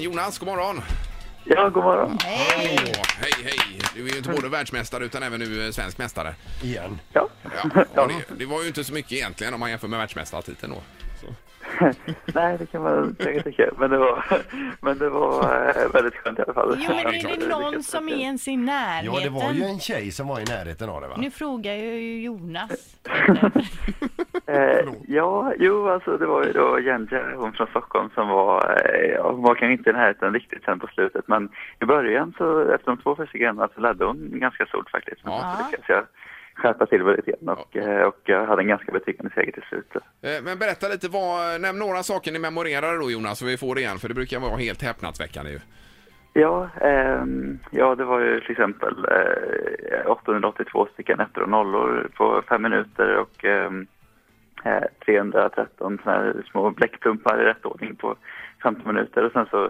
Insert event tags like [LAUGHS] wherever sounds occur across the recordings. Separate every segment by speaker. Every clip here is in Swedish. Speaker 1: Jonas, god morgon!
Speaker 2: Ja, god morgon.
Speaker 1: Hej! hej, hej! Du är ju inte både världsmästare utan även nu eh, svensk mästare.
Speaker 3: Igen.
Speaker 2: Ja.
Speaker 3: [LAUGHS]
Speaker 1: Ja, och det, det var ju inte så mycket egentligen om man jämför med världsmästartiteln då. Så.
Speaker 2: Nej, det kan man säkert tycka. Men det var, men det var eh, väldigt skönt i alla fall. Eh,
Speaker 4: Jo, men är det någon som är ens i närheten?
Speaker 3: Ja, det var ju en tjej som var i närheten av det va?
Speaker 4: Nu frågar jag ju Jonas.
Speaker 2: Eh, ja, jo, alltså det var ju då Jenja, hon från Stockholm, som var, eh, ja, hon var kanske inte i närheten riktigt sen på slutet, men i början så, efter de två första grenarna så ledde hon ganska stort faktiskt. Men
Speaker 1: Ja.
Speaker 2: så lyckades jag skärpa till mig lite grann och, eh, och jag hade en ganska betryggande seger till slut.
Speaker 1: Eh, Men berätta lite, vad, nämn några saker ni memorerade då Jonas så vi får det igen för det brukar vara helt häpnadsväckande ju.
Speaker 2: Ja, ehm, ja, det var ju till exempel eh, 882 stycken ettor och nollor på fem minuter och ehm, eh, 313 såna här små bläckpumpar i rätt ordning på 15 minuter. Och sen så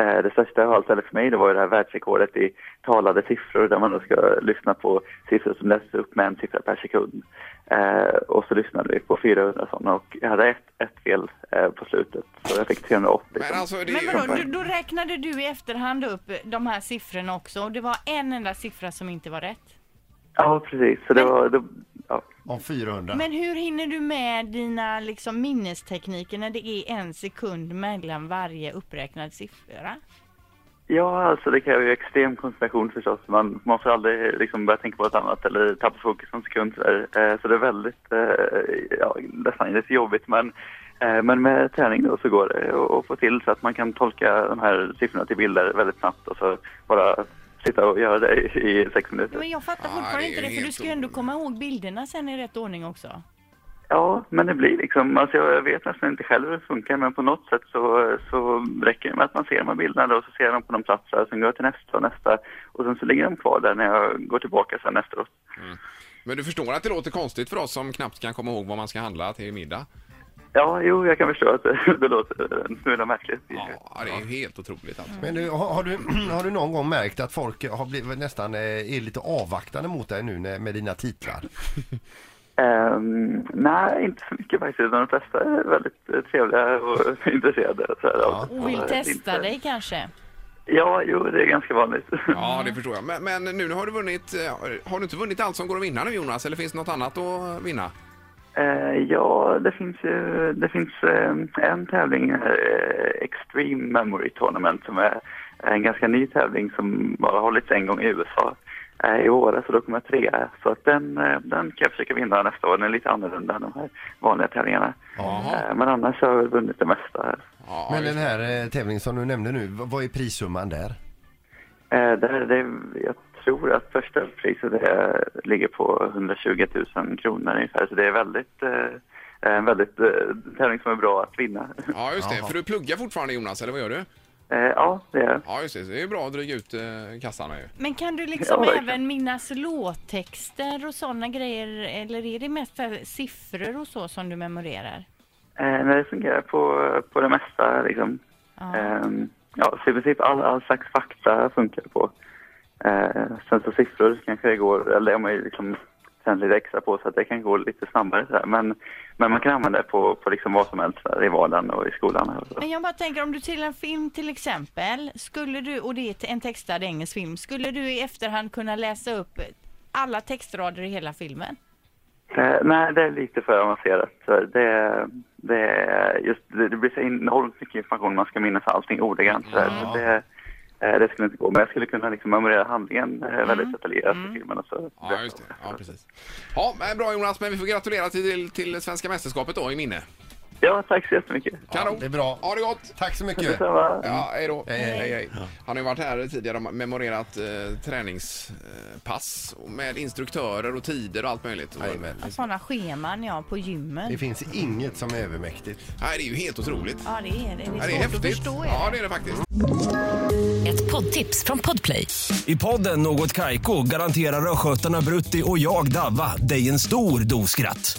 Speaker 2: eh, det största av allt, eller för mig, det var ju det här världsrekordet i talade siffror där man då ska lyssna på siffror som läses upp med en siffra per sekund. Eh, och så lyssnade vi på 400 sådana och jag hade ett, ett fel eh, på slutet så jag fick 380.
Speaker 1: Men alltså det är
Speaker 4: Men
Speaker 1: ju...
Speaker 4: vadå, då, då räknade du i efterhand upp de här siffrorna också och det var en enda siffra som inte var rätt.
Speaker 2: Ja, precis. Så det var... Det, ja.
Speaker 3: Om 400.
Speaker 4: Men hur hinner du med dina liksom, minnestekniker när det är en sekund mellan varje uppräknad siffra?
Speaker 2: Ja, alltså det kräver ju extrem koncentration förstås. Man, man får aldrig liksom börja tänka på något annat eller tappa fokus en sekund. Så, där. Eh, så det är väldigt, eh, ja, nästan lite jobbigt. Men, eh, men med träning då så går det att- att få till så att man kan tolka de här siffrorna till bilder väldigt snabbt och så bara sitta och göra det i, i sex minuter.
Speaker 4: Men jag fattar
Speaker 1: Ah,
Speaker 4: fortfarande
Speaker 1: det är
Speaker 4: inte det, för
Speaker 1: helt
Speaker 4: du ska ju ändå komma ihåg bilderna sen i rätt ordning också.
Speaker 2: Ja, men det blir liksom, alltså jag vet nästan inte själv hur det funkar, men på något sätt så, så räcker det med att man ser de här bilderna då, och så ser jag dem på någon plats där, sen går jag till nästa och nästa och sen så ligger de kvar där när jag går tillbaka sen efteråt.
Speaker 1: Men du förstår att det låter konstigt för oss som knappt kan komma ihåg vad man ska handla till middag?
Speaker 2: Ja, jo, jag kan förstå att [LAUGHS] det, det låter en smula märkligt.
Speaker 1: Ja, det är ju helt otroligt alltså.
Speaker 3: Men du, har, har, du, [CLEARS THROAT] har du någon gång märkt att folk har blivit nästan eh, är lite avvaktande mot dig nu när, med dina titlar?
Speaker 2: Ehm, nej, inte så mycket faktiskt, utan de flesta är väldigt eh, trevliga och [LAUGHS] intresserade. Så här, av-
Speaker 4: Och vill
Speaker 2: av-
Speaker 4: testa
Speaker 2: inte-
Speaker 4: dig kanske?
Speaker 2: Ja, jo, det är ganska vanligt. [LAUGHS]
Speaker 1: Ja, det förstår jag. Men, men nu har du vunnit... eh, Har du inte vunnit allt som går att vinna nu Jonas? Eller finns det något annat att vinna?
Speaker 2: Eh, ja, det finns, ju- det finns eh, en tävling, eh, Extreme Memory Tournament, som är en ganska ny tävling som bara hållits en gång i USA eh, i våras och då kom jag trea. Så att den, eh, den kan jag försöka vinna nästa år. Den är lite annorlunda än de här vanliga tävlingarna.
Speaker 1: Jaha.
Speaker 2: Eh, men annars har jag väl vunnit det mesta.
Speaker 1: Ja,
Speaker 3: Men
Speaker 1: just
Speaker 3: den här eh, tävlingen som du nämnde nu, v- vad är prissumman där?
Speaker 2: Eh, det här, det, jag tror att första priset är, ligger på 120 000 kronor ungefär, så det är väldigt, eh, en väldigt eh, tävling som är bra att vinna.
Speaker 1: Ja, just det.
Speaker 3: Jaha.
Speaker 1: För du pluggar fortfarande Jonas, eller vad gör du?
Speaker 2: Eh, ja, det är
Speaker 1: Ja, just det. Så Det är ju bra att dryga ut eh, kassan ju.
Speaker 4: Men kan du liksom
Speaker 2: Ja, verkligen.
Speaker 4: även minnas låttexter och sådana grejer eller är det mest så här siffror och så som du memorerar?
Speaker 2: Eh, nej, det fungerar på, på det mesta. Liksom.
Speaker 4: Ja.
Speaker 2: Ehm, ja, så i princip all, all slags fakta funkar det på. Eh, sen så siffror kanske det går, eller om man ju liksom tänder lite extra på så att det kan gå lite snabbare. Så här. Men, men man kan använda det på, på liksom vad som helst så här, i vardagen och i skolan. Och så.
Speaker 4: Men jag bara tänker om du till en film till exempel, skulle du, och det är en textad engelsk film, skulle du i efterhand kunna läsa upp alla textrader i hela filmen?
Speaker 2: Eh, nej, det är lite för avancerat. Så här, Det, det, just, det, det blir så enormt mycket information, man ska minnas allting ordagrant. Så här. Så det, eh, det skulle inte gå, men jag skulle kunna liksom memorera handlingen eh, väldigt detaljerat i filmen. Och så.
Speaker 1: Mm. Ja, just det. Ja, precis. Ja, men bra Jonas, men vi får gratulera till, till Svenska mästerskapet då i minne.
Speaker 2: Ja, tack så jättemycket.
Speaker 1: Kanon!
Speaker 3: det är bra.
Speaker 1: Ha det gott!
Speaker 3: Tack så mycket!
Speaker 2: Detsamma.
Speaker 1: Ja, hej då.
Speaker 3: Hej, hej.
Speaker 1: Han har ju varit här tidigare och memorerat eh, träningspass och med instruktörer och tider och allt möjligt.
Speaker 3: Jajamän.
Speaker 4: Sådana scheman ja, på
Speaker 3: Det
Speaker 4: gymmen.
Speaker 3: finns inget som är övermäktigt.
Speaker 1: Nej, det är ju helt otroligt.
Speaker 4: Ja det är det, det
Speaker 1: Ja,
Speaker 4: är,
Speaker 1: det är
Speaker 4: svårt att
Speaker 1: häftigt.
Speaker 4: förstå. är
Speaker 1: Ja,
Speaker 4: det.
Speaker 1: det är det faktiskt.
Speaker 5: Ett poddtips från Podplay.
Speaker 6: I podden Något Kaiko garanterar östgötarna Brutti och jag, Davva, dig en stor dos skratt.